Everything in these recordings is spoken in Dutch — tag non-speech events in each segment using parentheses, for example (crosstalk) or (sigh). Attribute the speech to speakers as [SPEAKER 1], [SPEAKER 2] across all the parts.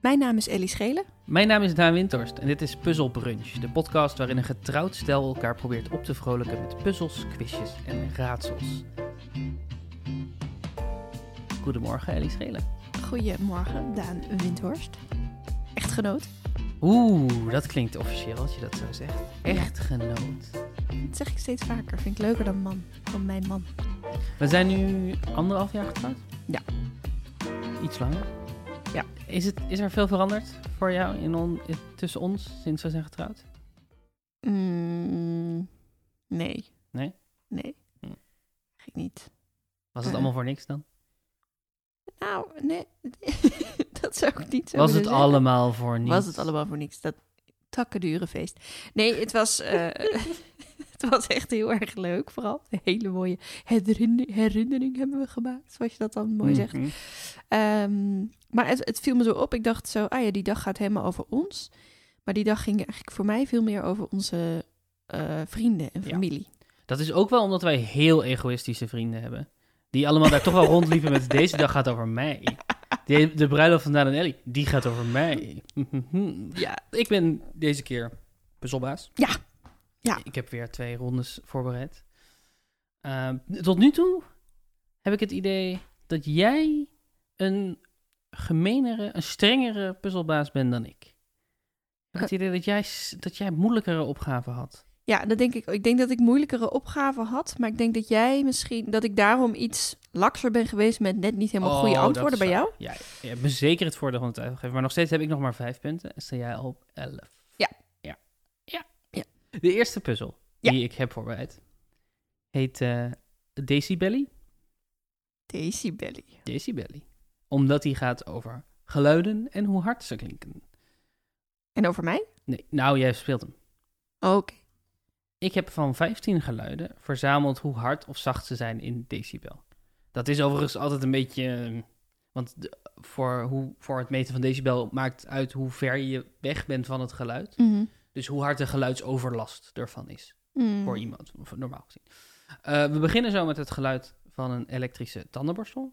[SPEAKER 1] Mijn naam is Ellie Schelen.
[SPEAKER 2] Mijn naam is Daan Winterst en dit is Puzzle Brunch, de podcast waarin een getrouwd stel elkaar probeert op te vrolijken met puzzels, quizjes en raadsels. Goedemorgen Ellie Schelen.
[SPEAKER 1] Goedemorgen, Daan Windhorst. Echtgenoot.
[SPEAKER 2] Oeh, dat klinkt officieel als je dat zo zegt. Echtgenoot.
[SPEAKER 1] Dat zeg ik steeds vaker. Vind ik leuker dan man. Dan mijn man.
[SPEAKER 2] We zijn nu anderhalf jaar getrouwd?
[SPEAKER 1] Ja.
[SPEAKER 2] Iets langer?
[SPEAKER 1] Ja.
[SPEAKER 2] Is, het, is er veel veranderd voor jou in on- in- tussen ons sinds we zijn getrouwd?
[SPEAKER 1] Mm, nee.
[SPEAKER 2] Nee?
[SPEAKER 1] Nee.
[SPEAKER 2] Hm.
[SPEAKER 1] Eigenlijk niet.
[SPEAKER 2] Was
[SPEAKER 1] Eh.
[SPEAKER 2] het allemaal voor niks dan?
[SPEAKER 1] Nou, nee. (laughs) dat zou ik niet zo
[SPEAKER 2] Was
[SPEAKER 1] willen
[SPEAKER 2] het
[SPEAKER 1] zeggen.
[SPEAKER 2] allemaal voor niets?
[SPEAKER 1] Was het allemaal voor niks. Dat takkendure feest. Nee, het was, eh, (laughs) het was echt heel erg leuk. Vooral een hele mooie herinner- herinnering hebben we gemaakt. Zoals je dat dan mooi zegt.
[SPEAKER 2] Mhm.
[SPEAKER 1] Ehm, maar het, het viel me zo op. Ik dacht zo, ah ja, die dag gaat helemaal over ons. Maar die dag ging eigenlijk voor mij veel meer over onze eh, vrienden en
[SPEAKER 2] Ja.
[SPEAKER 1] familie.
[SPEAKER 2] Dat is ook wel omdat wij heel egoïstische vrienden hebben. Die allemaal daar toch wel
[SPEAKER 1] (laughs)
[SPEAKER 2] rondliepen met deze dag gaat over mij. De, de bruiloft van Daan en Ellie, die gaat over mij. (laughs)
[SPEAKER 1] Ja.
[SPEAKER 2] Ik ben deze keer puzzelbaas.
[SPEAKER 1] Ja. Ja.
[SPEAKER 2] Ik heb weer twee rondes voorbereid. Ehm, tot nu toe heb ik het idee dat jij een gemeenere, een strengere puzzelbaas bent dan ik. Ik heb het
[SPEAKER 1] Eh.
[SPEAKER 2] idee dat jij, s- dat jij moeilijkere opgaven had.
[SPEAKER 1] Ja, dat denk ik. Ik denk dat ik moeilijkere opgaven had. Maar ik denk dat jij misschien, dat ik daarom iets lakser ben geweest met net niet helemaal
[SPEAKER 2] Oh,
[SPEAKER 1] goede
[SPEAKER 2] dat
[SPEAKER 1] antwoorden bij
[SPEAKER 2] is
[SPEAKER 1] jou.
[SPEAKER 2] Ja, je hebt me zeker het voordeel van de twijfel gegeven. Maar nog steeds heb ik nog maar vijf punten. En sta jij al op elf.
[SPEAKER 1] Ja.
[SPEAKER 2] Ja. Ja.
[SPEAKER 1] Ja.
[SPEAKER 2] De eerste puzzel
[SPEAKER 1] Ja.
[SPEAKER 2] die ik heb voorbereid heet eh Decibelly.
[SPEAKER 1] Decibelly.
[SPEAKER 2] Decibelly. Omdat die gaat over geluiden en hoe hard ze klinken.
[SPEAKER 1] En over mij? Oh,
[SPEAKER 2] Nee, nou, jij speelt hem.
[SPEAKER 1] Oké.
[SPEAKER 2] Ik heb van 15 geluiden verzameld hoe hard of zacht ze zijn in decibel. Dat is overigens altijd een beetje. eh, Want de- voor, hoe, voor het meten van decibel maakt uit hoe ver je weg bent van het geluid.
[SPEAKER 1] Mhm.
[SPEAKER 2] Dus hoe hard de geluidsoverlast ervan is
[SPEAKER 1] Mm.
[SPEAKER 2] voor iemand, of normaal gezien. Eh, we beginnen zo met het geluid van een elektrische tandenborstel.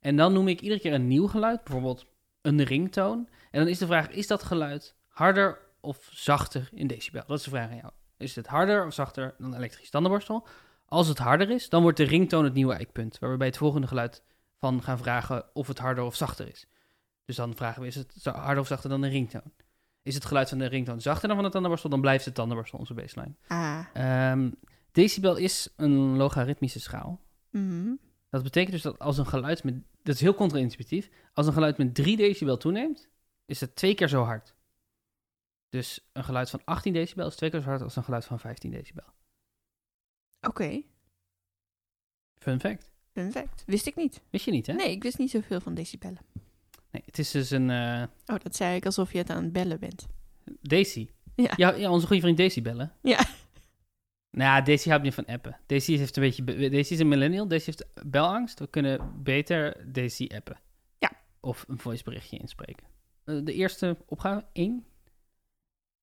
[SPEAKER 2] En dan noem ik iedere keer een nieuw geluid, bijvoorbeeld een ringtoon. En dan is de vraag, is dat geluid harder of zachter in decibel? Dat is de vraag aan jou. Is het harder of zachter dan een elektrische tandenborstel? Als het harder is, dan wordt de ringtoon het nieuwe eikpunt, waar we bij het volgende geluid van gaan vragen of het harder of zachter is. Dus dan vragen we, is het za- harder of zachter dan een ringtoon? Is het geluid van de ringtoon zachter dan van de tandenborstel, dan blijft de tandenborstel onze baseline.
[SPEAKER 1] Ah.
[SPEAKER 2] Ehm, decibel is een logaritmische schaal.
[SPEAKER 1] Mhm.
[SPEAKER 2] Dat betekent dus dat als een geluid met... Dat is heel contra-intuïtief. Als een geluid met 3 decibel toeneemt, is het twee keer zo hard. Dus een geluid van 18 decibel is twee keer zo hard als een geluid van 15 decibel.
[SPEAKER 1] Oké.
[SPEAKER 2] Fun fact.
[SPEAKER 1] Perfect. Wist ik niet.
[SPEAKER 2] Wist je niet, hè?
[SPEAKER 1] Nee, ik wist niet zoveel van decibellen.
[SPEAKER 2] Nee, het is dus een eh
[SPEAKER 1] Oh, dat zei ik alsof je het aan het bellen bent.
[SPEAKER 2] deci.
[SPEAKER 1] Ja.
[SPEAKER 2] Ja, ja, onze goede vriend decibellen.
[SPEAKER 1] Ja.
[SPEAKER 2] Nou, Daisy houdt niet van appen. Daisy, heeft een beetje, be- Daisy is een millennial. Daisy heeft belangst. We kunnen beter Daisy appen.
[SPEAKER 1] Ja.
[SPEAKER 2] Of een voiceberichtje inspreken. Eh, De eerste opgave, 1,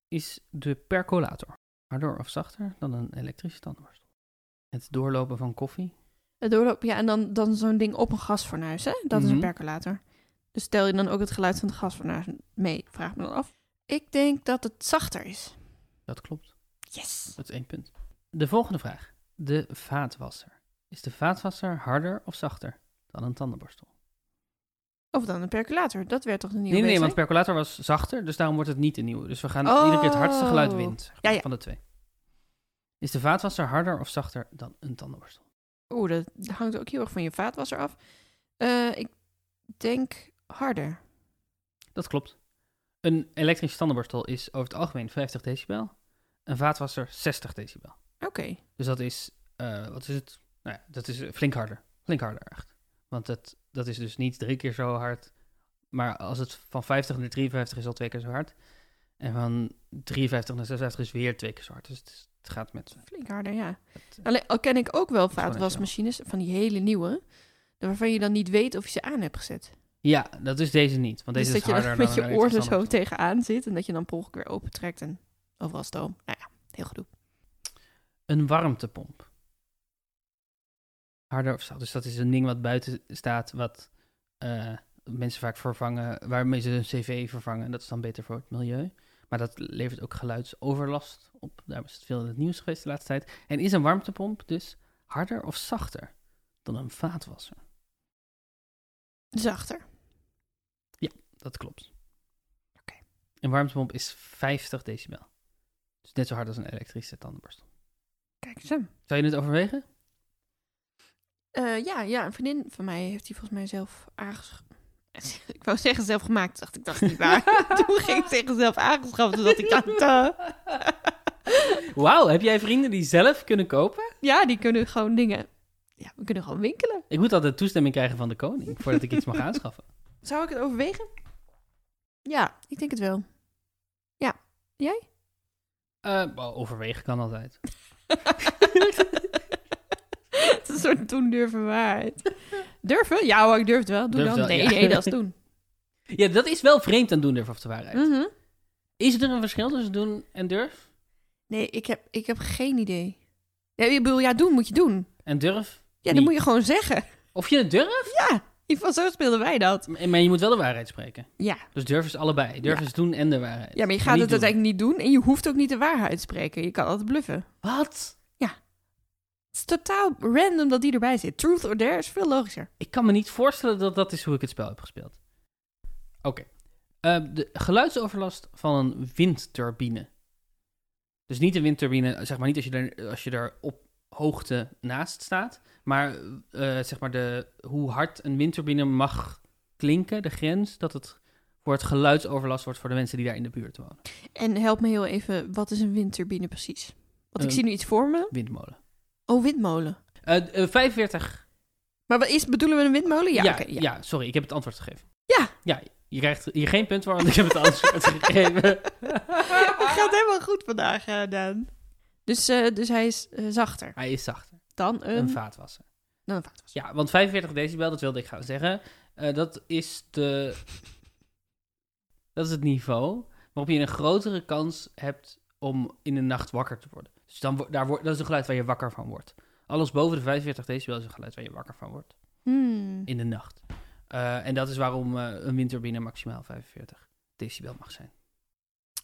[SPEAKER 2] is de percolator. Harder of zachter dan een elektrische tandenborstel. Het doorlopen van koffie.
[SPEAKER 1] Het doorloop, ja, en dan, dan zo'n ding op een gasfornuis, hè? Dat is een
[SPEAKER 2] Mhm.
[SPEAKER 1] percolator. Dus stel je dan ook het geluid van de gasfornuis mee, vraag me dan af. Ik denk dat het zachter is.
[SPEAKER 2] Dat klopt.
[SPEAKER 1] Yes!
[SPEAKER 2] Dat is één punt. De volgende vraag. De vaatwasser. Is de vaatwasser harder of zachter dan een tandenborstel?
[SPEAKER 1] Of dan een percolator, dat werd toch een nieuwe
[SPEAKER 2] Nee, nee,
[SPEAKER 1] wees,
[SPEAKER 2] want
[SPEAKER 1] hè?
[SPEAKER 2] percolator was zachter, dus daarom wordt het niet een nieuwe. Dus we gaan
[SPEAKER 1] Oh.
[SPEAKER 2] iedere keer het hardste geluid wint zeg maar,
[SPEAKER 1] Ja, ja.
[SPEAKER 2] van de twee. Is de vaatwasser harder of zachter dan een tandenborstel?
[SPEAKER 1] Oeh, dat hangt ook heel erg van je vaatwasser af. Eh, ik denk harder.
[SPEAKER 2] Dat klopt. Een elektrische tandenborstel is over het algemeen 50 decibel. Een vaatwasser 60 decibel.
[SPEAKER 1] Oké.
[SPEAKER 2] Dus dat is, eh, wat is het? Nou ja, dat is eh, flink harder. Flink harder echt. Want het, dat is dus niet drie keer zo hard. Maar als het van 50 naar 53 is al twee keer zo hard. En van 53 naar 56 is weer twee keer zo hard. Dus het, is- het gaat met...
[SPEAKER 1] Flink harder, ja.
[SPEAKER 2] met-
[SPEAKER 1] Alleen, al ken ik ook wel
[SPEAKER 2] Exponentieel.
[SPEAKER 1] vaatwasmachines van die hele nieuwe, waarvan je dan niet weet of je ze aan hebt gezet.
[SPEAKER 2] Ja, dat is deze niet. Want deze
[SPEAKER 1] dus
[SPEAKER 2] is
[SPEAKER 1] dat je
[SPEAKER 2] harder
[SPEAKER 1] dan (laughs)
[SPEAKER 2] dan
[SPEAKER 1] met je
[SPEAKER 2] een
[SPEAKER 1] oren
[SPEAKER 2] elektrische
[SPEAKER 1] zo
[SPEAKER 2] tandenborstel.
[SPEAKER 1] tegenaan zit en dat je dan per ongeluk weer opentrekt en overal stoom. Nou ja, heel gedoe.
[SPEAKER 2] Een warmtepomp. Harder of zacht. Dus dat is een ding wat buiten staat, wat eh, mensen vaak vervangen, waarmee ze hun cv vervangen. En dat is dan beter voor het milieu. Maar dat levert ook geluidsoverlast op. Daar is het veel in het nieuws geweest de laatste tijd. En is een warmtepomp dus harder of zachter dan een vaatwasser?
[SPEAKER 1] Zachter.
[SPEAKER 2] Dat klopt.
[SPEAKER 1] Oké.
[SPEAKER 2] Een warmtepomp is 50 decibel. Dus net zo hard als een elektrische tandenborstel.
[SPEAKER 1] Kijk eens hem.
[SPEAKER 2] Zou je het overwegen?
[SPEAKER 1] Eh, ja, ja, een vriendin van mij heeft die volgens mij zelf aangeschaft. (laughs) Ik wou zeggen zelf gemaakt, dacht ik, dat is niet waar. (laughs) Toen ging ik zeggen zelf aangeschaft, toen dacht ik, ja, duh.
[SPEAKER 2] Wauw, heb jij vrienden die zelf kunnen
[SPEAKER 1] (laughs)
[SPEAKER 2] kopen?
[SPEAKER 1] ja, die kunnen gewoon dingen... Ja, we kunnen gewoon winkelen.
[SPEAKER 2] Ik moet altijd toestemming krijgen van de koning voordat ik iets
[SPEAKER 1] (laughs)
[SPEAKER 2] mag aanschaffen.
[SPEAKER 1] Zou ik het overwegen? Ja, ik denk het wel.
[SPEAKER 2] Eh, wel, overwegen kan altijd.
[SPEAKER 1] (laughs) het is een soort doen, durven, waarheid. Durven? Ja hoor, ik durf het wel. Doe
[SPEAKER 2] Durf
[SPEAKER 1] dan.
[SPEAKER 2] wel,
[SPEAKER 1] nee,
[SPEAKER 2] ja.
[SPEAKER 1] nee, dat is doen.
[SPEAKER 2] Ja, dat is wel vreemd aan doen durf of de waarheid.
[SPEAKER 1] Mhm.
[SPEAKER 2] Is er een verschil tussen doen en durf?
[SPEAKER 1] Nee, ik heb, ik heb geen idee. Ja, ik bedoel, ja, doen moet je doen.
[SPEAKER 2] En durf?
[SPEAKER 1] Ja,
[SPEAKER 2] Niet.
[SPEAKER 1] dan moet je gewoon zeggen. (laughs)
[SPEAKER 2] Of je het durft,
[SPEAKER 1] Ja, in ieder geval zo speelden wij dat.
[SPEAKER 2] maar- maar je moet wel de waarheid spreken.
[SPEAKER 1] Ja.
[SPEAKER 2] Dus durf is allebei. Durf
[SPEAKER 1] Ja.
[SPEAKER 2] is doen en de waarheid.
[SPEAKER 1] Ja, maar je
[SPEAKER 2] En
[SPEAKER 1] gaat
[SPEAKER 2] niet
[SPEAKER 1] het
[SPEAKER 2] doen.
[SPEAKER 1] uiteindelijk niet doen en je hoeft ook niet de waarheid te spreken. Je kan altijd bluffen.
[SPEAKER 2] Wat?
[SPEAKER 1] Het is totaal random dat die erbij zit. Truth or dare is veel logischer.
[SPEAKER 2] Ik kan me niet voorstellen dat dat is hoe ik het spel heb gespeeld. Oké. Eh, de geluidsoverlast van een windturbine. Dus niet een windturbine, zeg maar niet als je er, als je er op hoogte naast staat. Maar eh, zeg maar de, hoe hard een windturbine mag klinken, de grens, dat het voor het geluidsoverlast wordt voor de mensen die daar in de buurt wonen.
[SPEAKER 1] En help me heel even, wat is een windturbine precies? Want ik
[SPEAKER 2] Een-
[SPEAKER 1] zie nu iets voor me.
[SPEAKER 2] Windmolen.
[SPEAKER 1] Oh, windmolen.
[SPEAKER 2] Eh, d- eh, 45.
[SPEAKER 1] Maar wat is, bedoelen we een windmolen? Ja,
[SPEAKER 2] ja,
[SPEAKER 1] oké, ja.
[SPEAKER 2] ja, sorry, ik heb het antwoord gegeven.
[SPEAKER 1] Ja.
[SPEAKER 2] Ja, je krijgt hier geen punt voor, want ik heb het
[SPEAKER 1] (laughs)
[SPEAKER 2] antwoord (laughs) gegeven.
[SPEAKER 1] Het gaat helemaal goed vandaag, eh, Daan. Dus, eh, dus hij is eh, zachter
[SPEAKER 2] Hij is zachter.
[SPEAKER 1] dan een,
[SPEAKER 2] Een vaatwasser.
[SPEAKER 1] dan een vaatwasser.
[SPEAKER 2] Ja, want 45 decibel, dat wilde ik gaan zeggen. eh, dat is de. Dat is het niveau waarop je een grotere kans hebt om in de nacht wakker te worden. Dus dan, wo- daar wordt dat is een geluid waar je wakker van wordt. Alles boven de 45 decibel is een geluid waar je wakker van wordt.
[SPEAKER 1] Hmm.
[SPEAKER 2] In de nacht. Eh, en dat is waarom eh, een windturbine maximaal 45 decibel mag zijn.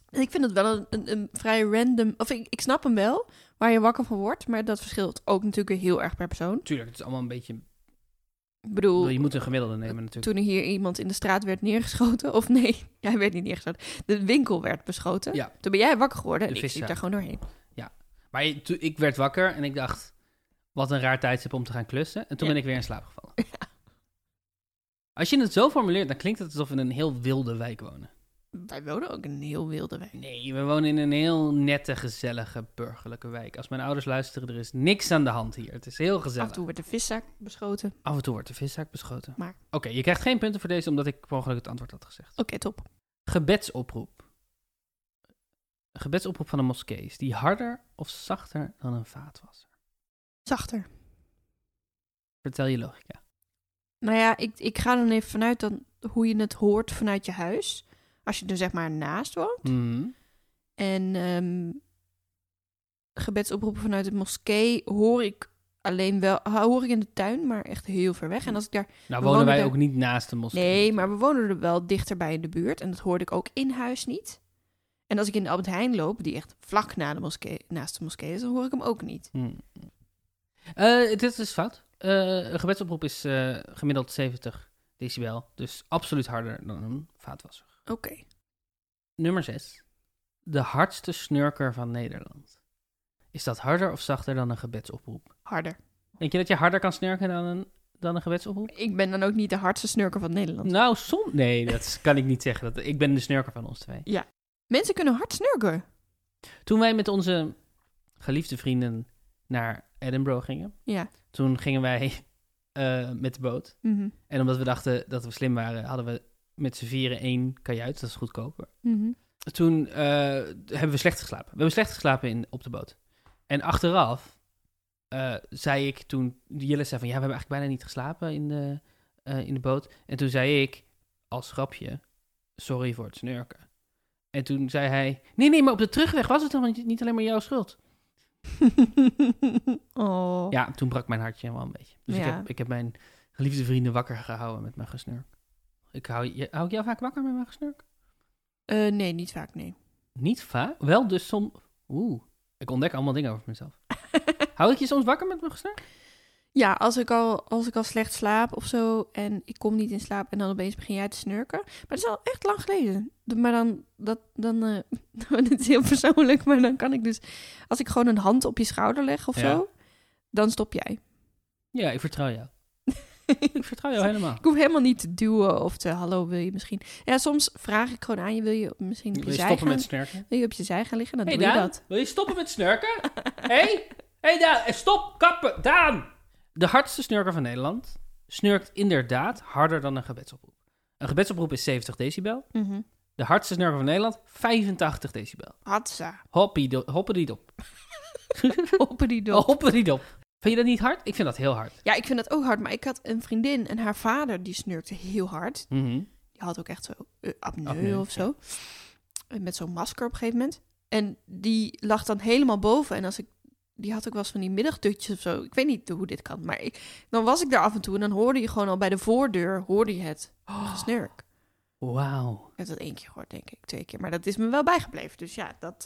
[SPEAKER 1] Ik vind het wel een, een, een vrij random... Of ik, ik snap hem wel, waar je wakker van wordt. Maar dat verschilt ook natuurlijk weer heel erg per persoon.
[SPEAKER 2] Tuurlijk, het is allemaal een beetje. ik
[SPEAKER 1] Ik
[SPEAKER 2] bedoel,
[SPEAKER 1] bedoel,
[SPEAKER 2] Je moet een gemiddelde nemen natuurlijk.
[SPEAKER 1] toen er hier iemand in de straat werd neergeschoten. Of nee, (laughs) hij werd niet neergeschoten. De winkel werd beschoten.
[SPEAKER 2] Ja.
[SPEAKER 1] Toen ben jij wakker geworden en
[SPEAKER 2] De
[SPEAKER 1] ik liep
[SPEAKER 2] viszaak.
[SPEAKER 1] daar gewoon doorheen.
[SPEAKER 2] Maar je- toen- ik werd wakker en ik dacht. Wat een raar tijdstip om te gaan klussen. En toen
[SPEAKER 1] Ja.
[SPEAKER 2] ben ik weer in slaap
[SPEAKER 1] (laughs)
[SPEAKER 2] gevallen. Als je het zo formuleert, dan klinkt het alsof we in een heel wilde wijk wonen.
[SPEAKER 1] Wij wonen ook in een heel wilde wijk.
[SPEAKER 2] Nee, we wonen in een heel nette, gezellige, burgerlijke wijk. Als mijn ouders luisteren, er is niks aan de hand hier. Het is heel
[SPEAKER 1] Af
[SPEAKER 2] gezellig.
[SPEAKER 1] en toe werd de viszaak beschoten. Oké,
[SPEAKER 2] Af en toe wordt de viszaak beschoten.
[SPEAKER 1] Maar-
[SPEAKER 2] Oké, je krijgt geen punten voor deze, omdat ik per ongeluk het antwoord had gezegd.
[SPEAKER 1] top.
[SPEAKER 2] Gebedsoproep. Een gebedsoproep van een moskee. Is die harder of zachter dan een vaatwasser?
[SPEAKER 1] Zachter.
[SPEAKER 2] Vertel je logica.
[SPEAKER 1] Nou ja, ik, ik ga dan even vanuit dan hoe je het hoort vanuit je huis. Als je er zeg maar naast woont.
[SPEAKER 2] Hmm.
[SPEAKER 1] En ehm, gebedsoproepen vanuit de moskee hoor ik alleen wel... Hoor ik in de tuin, maar echt heel ver weg. En als ik daar
[SPEAKER 2] Nou,
[SPEAKER 1] We
[SPEAKER 2] wonen,
[SPEAKER 1] wonen
[SPEAKER 2] wij
[SPEAKER 1] daar-
[SPEAKER 2] ook niet naast de moskee.
[SPEAKER 1] Nee, maar we wonen er wel dichterbij in de buurt. En dat hoorde ik ook in huis niet. En als ik in de Albert Heijn loop, die echt vlak na de moskee, naast de moskee is, dan hoor ik hem ook niet.
[SPEAKER 2] Hmm. Eh, dit is fout. Eh, een gebedsoproep is eh, gemiddeld 70 decibel. Dus absoluut harder dan een vaatwasser.
[SPEAKER 1] Oké.
[SPEAKER 2] Nummer 6. De hardste snurker van Nederland. Is dat harder of zachter dan een gebedsoproep?
[SPEAKER 1] Harder.
[SPEAKER 2] Denk je dat je harder kan snurken dan een, dan een gebedsoproep?
[SPEAKER 1] Ik ben dan ook niet de hardste snurker van Nederland.
[SPEAKER 2] Nou, soms. Nee, dat kan ik niet zeggen. Dat, ik ben de snurker van ons twee.
[SPEAKER 1] Mensen kunnen hard snurken.
[SPEAKER 2] Toen wij met onze geliefde vrienden naar Edinburgh gingen,
[SPEAKER 1] Ja.
[SPEAKER 2] toen gingen wij (laughs) eh, met de boot.
[SPEAKER 1] Mhm.
[SPEAKER 2] En omdat we dachten dat we slim waren, hadden we met z'n vieren één kajuit. Dat is goedkoper.
[SPEAKER 1] Mhm. (laughs)
[SPEAKER 2] Toen eh, hebben we slecht geslapen. We hebben slecht geslapen in, op de boot. En achteraf eh, zei ik toen... Jelle zei van, ja, we hebben eigenlijk bijna niet geslapen in de, eh, in de boot. En toen zei ik, als grapje, sorry voor het snurken. En toen zei hij, nee, nee, maar op de terugweg was het helemaal niet, niet alleen maar jouw schuld.
[SPEAKER 1] oh.
[SPEAKER 2] Ja, toen brak mijn hartje wel een beetje. Dus ik,
[SPEAKER 1] Ja.
[SPEAKER 2] heb, ik heb mijn geliefde vrienden wakker gehouden met mijn gesnurk. Ik hou, je, hou ik jou vaak wakker met mijn gesnurk?
[SPEAKER 1] Eh, nee, niet vaak, nee. (laughs)
[SPEAKER 2] Niet vaak. Wel dus soms... Oeh, ik ontdek allemaal dingen over mezelf. hou ik je soms wakker met mijn gesnurk?
[SPEAKER 1] Ja, als ik, al, als ik al slecht slaap of zo en ik kom niet in slaap en dan opeens begin jij te snurken. Maar dat is al echt lang geleden. D- Maar dan, dat, dan eh (laughs) het is heel persoonlijk, maar dan kan ik dus, als ik gewoon een hand op je schouder leg of
[SPEAKER 2] Ja.
[SPEAKER 1] zo, dan stop
[SPEAKER 2] (laughs)
[SPEAKER 1] jij.
[SPEAKER 2] Ja, ik vertrouw jou. Ik vertrouw jou helemaal.
[SPEAKER 1] Ik hoef helemaal niet te duwen of te hallo, wil je misschien... Ja, soms vraag ik gewoon aan je, wil je misschien op je,
[SPEAKER 2] Wil je
[SPEAKER 1] zij
[SPEAKER 2] stoppen
[SPEAKER 1] gaan,
[SPEAKER 2] met snurken?
[SPEAKER 1] wil je op je zij gaan liggen? Dan
[SPEAKER 2] hey
[SPEAKER 1] doe je
[SPEAKER 2] Daan,
[SPEAKER 1] dat.
[SPEAKER 2] wil je stoppen met
[SPEAKER 1] (laughs)
[SPEAKER 2] snurken? Hé? Hey? hey Daan, eh, stop, kappen, Daan! De hardste snurker van Nederland snurkt inderdaad harder dan een gebedsoproep. Een gebedsoproep is 70 decibel.
[SPEAKER 1] Mhm.
[SPEAKER 2] De hardste snurker van Nederland, 85 decibel.
[SPEAKER 1] (laughs) Hatsa.
[SPEAKER 2] Hoppie, hoppiediedop.
[SPEAKER 1] Hopperdiedop.
[SPEAKER 2] Oh. Hoppiediedop. Vind je dat niet hard? Ik vind dat heel hard.
[SPEAKER 1] Ja, ik vind dat ook hard. Maar ik had een vriendin en haar vader die snurkte heel hard.
[SPEAKER 2] Mhm.
[SPEAKER 1] Die had ook echt zo eh, apneu,
[SPEAKER 2] Apneu,
[SPEAKER 1] of zo. En Met zo'n masker op een gegeven moment. En die lag dan helemaal boven. En als ik, die had ook wel eens van die middagdutjes of zo. Ik weet niet hoe dit kan. Maar ik, dan was ik daar af en toe en dan hoorde je gewoon al bij de voordeur hoorde je het
[SPEAKER 2] Oh.
[SPEAKER 1] snurk.
[SPEAKER 2] Wauw.
[SPEAKER 1] Ik heb dat één keer gehoord, denk ik. Twee keer. Maar dat is me wel bijgebleven. Dus ja, dat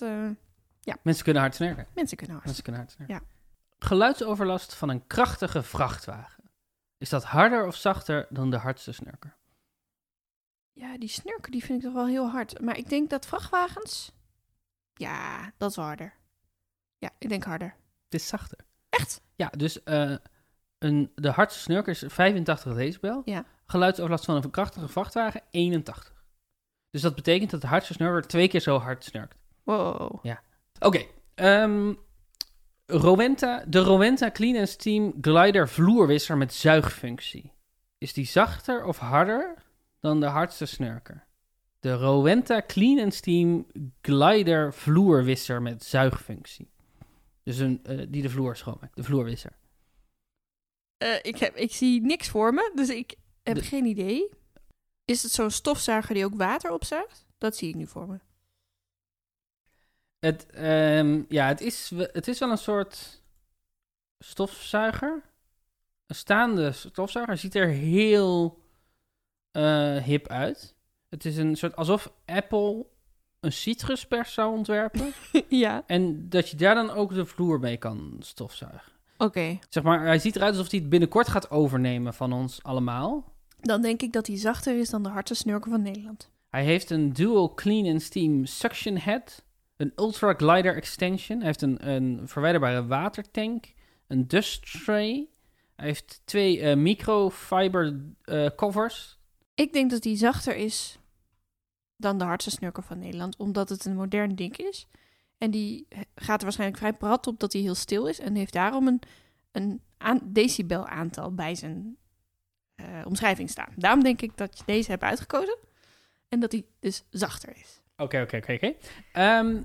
[SPEAKER 1] eh,
[SPEAKER 2] Mensen kunnen hard snurken.
[SPEAKER 1] mensen kunnen hard.
[SPEAKER 2] Mensen kunnen hard snurken.
[SPEAKER 1] Ja.
[SPEAKER 2] Geluidsoverlast van een krachtige vrachtwagen. Is dat harder of zachter dan de hardste snurker?
[SPEAKER 1] Ja, die snurken die vind ik toch wel heel hard. Maar ik denk dat vrachtwagens... Ja, dat is wel harder. Ja, ik denk harder.
[SPEAKER 2] Het is zachter.
[SPEAKER 1] Echt?
[SPEAKER 2] Ja, dus eh, een, de hardste snurker is 85 decibel.
[SPEAKER 1] Ja.
[SPEAKER 2] Geluidsoverlast van een krachtige vrachtwagen 81. Dus dat betekent dat de hardste snurker twee keer zo hard snurkt.
[SPEAKER 1] Wow.
[SPEAKER 2] Oké. ehm, Rowenta, de Rowenta Clean and Steam Glider vloerwisser met zuigfunctie. Is die zachter of harder dan de hardste snurker? De Rowenta Clean and Steam Glider vloerwisser met zuigfunctie. Dus een, eh, die de vloer schoonmaakt, de vloerwisser.
[SPEAKER 1] Eh, ik, heb, ik zie niks voor me, dus ik heb
[SPEAKER 2] De-
[SPEAKER 1] geen idee. Is het zo'n stofzuiger die ook water opzuigt? Dat zie ik nu voor me. (laughs)
[SPEAKER 2] Het, ehm, ja, het is, we- het is wel een soort stofzuiger. Een staande stofzuiger. Ziet er heel eh, hip uit. Het is een soort alsof Apple een citruspers zou ontwerpen.
[SPEAKER 1] ja.
[SPEAKER 2] en dat je daar dan ook de vloer mee kan stofzuigen.
[SPEAKER 1] Oké.
[SPEAKER 2] Zeg maar, hij ziet eruit alsof hij het binnenkort gaat overnemen van ons allemaal.
[SPEAKER 1] Dan denk ik dat die zachter is dan de hardste snurker van Nederland.
[SPEAKER 2] Hij heeft een dual clean and steam suction head, een ultra glider extension, hij heeft een, een verwijderbare watertank, een dust tray, hij heeft twee eh, microfiber eh, covers.
[SPEAKER 1] Ik denk dat die zachter is dan de hardste snurker van Nederland, omdat het een modern ding is. En die he- gaat er waarschijnlijk vrij prat op dat hij heel stil is en heeft daarom een, een aan, decibel aantal bij zijn eh, omschrijving staan. Daarom denk ik dat je deze hebt uitgekozen en dat die dus zachter is.
[SPEAKER 2] Oké, oké, oké, oké. Ehm,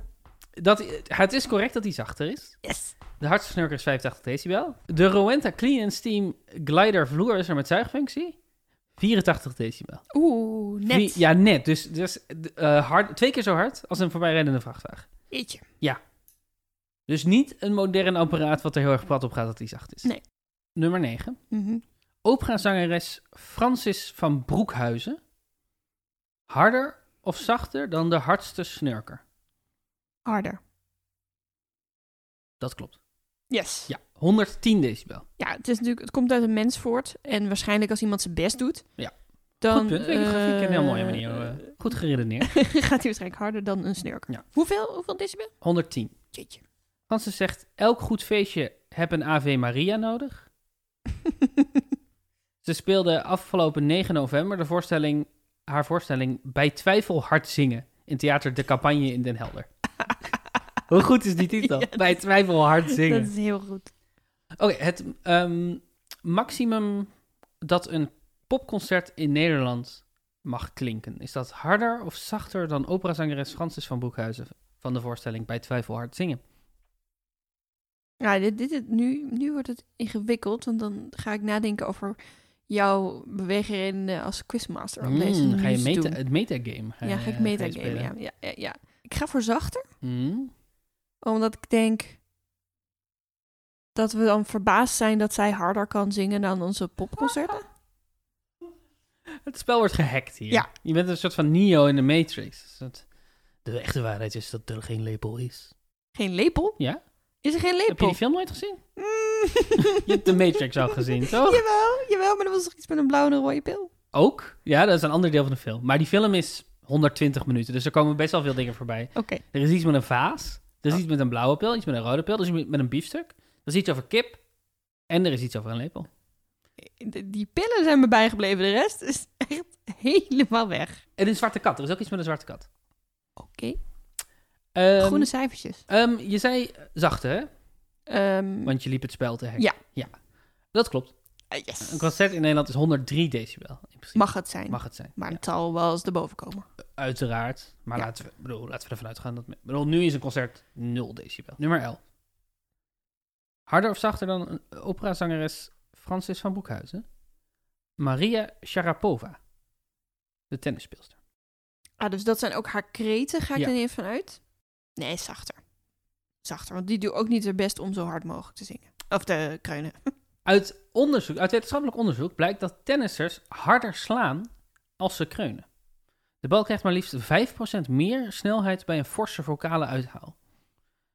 [SPEAKER 2] dat- Het is correct dat hij zachter is.
[SPEAKER 1] Yes!
[SPEAKER 2] De hardste snurker is 85 decibel. De Rowenta Clean and Steam Glider vloer is er met zuigfunctie. 84 decibel.
[SPEAKER 1] Oeh, net.
[SPEAKER 2] Wie- ja, net. Dus, dus eh, hard, twee keer zo hard als een voorbijrijdende vrachtwagen.
[SPEAKER 1] Jeetje.
[SPEAKER 2] Dus niet een modern apparaat wat er heel erg plat op gaat dat die zacht is.
[SPEAKER 1] Nee.
[SPEAKER 2] Nummer 9.
[SPEAKER 1] Mhm.
[SPEAKER 2] Operazangeres Francis van Broekhuizen. Harder of zachter dan de hardste snurker?
[SPEAKER 1] Harder.
[SPEAKER 2] Dat klopt.
[SPEAKER 1] Yes.
[SPEAKER 2] Ja, 110 decibel.
[SPEAKER 1] Ja, het, is natuurlijk, het komt uit een mens voort. En waarschijnlijk als iemand zijn best doet...
[SPEAKER 2] Ja.
[SPEAKER 1] Dan,
[SPEAKER 2] Goed punt. Ik vind het een heel mooie
[SPEAKER 1] eh,
[SPEAKER 2] manier. eh, goed geredeneerd.
[SPEAKER 1] (laughs) gaat hij waarschijnlijk harder dan een snurker.
[SPEAKER 2] Ja.
[SPEAKER 1] Hoeveel, hoeveel decibel?
[SPEAKER 2] 110.
[SPEAKER 1] Jeetje.
[SPEAKER 2] Francis zegt, elk goed feestje heb een Ave Maria (laughs) nodig. Ze speelde afgelopen 9 november de voorstelling, haar voorstelling Bij Twijfel Hard Zingen in Theater De Campagne in Den Helder. (laughs) Hoe goed is die titel?
[SPEAKER 1] Ja,
[SPEAKER 2] Bij Twijfel Hard Zingen.
[SPEAKER 1] dat is heel goed.
[SPEAKER 2] Oké, het ehm, maximum dat een popconcert in Nederland mag klinken. Is dat harder of zachter dan operazangeres Francis van Broekhuizen van de voorstelling Bij Twijfel Hard Zingen?
[SPEAKER 1] Ja, dit, dit, dit- nu, nu wordt het ingewikkeld, want dan ga ik nadenken over jouw beweegredenen als quizmaster. Om deze
[SPEAKER 2] Mm, ga je
[SPEAKER 1] nieuws te
[SPEAKER 2] meta,
[SPEAKER 1] doen.
[SPEAKER 2] het metagame. eh,
[SPEAKER 1] Ja, ga ik metagame, ja, ja, ja, ja. Ik ga voor zachter,
[SPEAKER 2] Mm.
[SPEAKER 1] omdat ik denk dat we dan verbaasd zijn dat zij harder kan zingen dan onze popconcerten.
[SPEAKER 2] Het spel wordt gehackt hier.
[SPEAKER 1] Ja.
[SPEAKER 2] Je bent een soort van Neo in de Matrix. Een soort- de echte waarheid is dat er geen lepel is.
[SPEAKER 1] Geen lepel?
[SPEAKER 2] Ja.
[SPEAKER 1] Is er geen
[SPEAKER 2] Heb je
[SPEAKER 1] lepel?
[SPEAKER 2] die (laughs) film nooit gezien?
[SPEAKER 1] Mm.
[SPEAKER 2] Je hebt de Matrix al
[SPEAKER 1] (laughs)
[SPEAKER 2] gezien, toch?
[SPEAKER 1] Jawel, jawel, maar dat was toch iets met een blauwe en een rode pil?
[SPEAKER 2] Ook? Ja, dat is een ander deel van de film. Maar die film is 120 minuten, dus er komen best wel veel dingen voorbij.
[SPEAKER 1] Oké.
[SPEAKER 2] Er is iets met een vaas, er
[SPEAKER 1] Oh.
[SPEAKER 2] is iets met een blauwe pil, iets met een rode pil, er is iets met een biefstuk, er is iets over kip en er is iets over een lepel.
[SPEAKER 1] De- Eh, Die pillen zijn me bijgebleven, de rest is echt helemaal weg.
[SPEAKER 2] En een zwarte kat, er is ook iets met een zwarte kat.
[SPEAKER 1] Oké,
[SPEAKER 2] Ehm,
[SPEAKER 1] groene cijfertjes.
[SPEAKER 2] ehm, je zei zachte, hè?
[SPEAKER 1] Ehm,
[SPEAKER 2] Want je liep het spel te hacken.
[SPEAKER 1] Ja.
[SPEAKER 2] ja. Dat klopt.
[SPEAKER 1] ah, yes.
[SPEAKER 2] Een concert in Nederland is 103 decibel. In principe.
[SPEAKER 1] Mag het zijn,
[SPEAKER 2] Mag het zijn.
[SPEAKER 1] maar het zal wel eens erboven komen.
[SPEAKER 2] Uiteraard. Maar
[SPEAKER 1] Ja.
[SPEAKER 2] laten, we, bedoel, laten we ervan uitgaan dat... Bedoel, nu is een concert 0 decibel. Nummer 11. Harder of zachter dan een operazangeres Francis van Broekhuizen? Maria Sharapova. De tennisspeelster.
[SPEAKER 1] Ah, dus dat zijn ook haar kreten, ga ik
[SPEAKER 2] Ja.
[SPEAKER 1] er niet even van uit? Nee, zachter. Zachter, want die doet ook niet haar best om zo hard mogelijk te zingen. Of te kreunen.
[SPEAKER 2] Uit, onderzoek, uit wetenschappelijk onderzoek blijkt dat tennissers harder slaan als ze kreunen. De bal krijgt maar liefst 5% meer snelheid bij een forse vocale uithaal.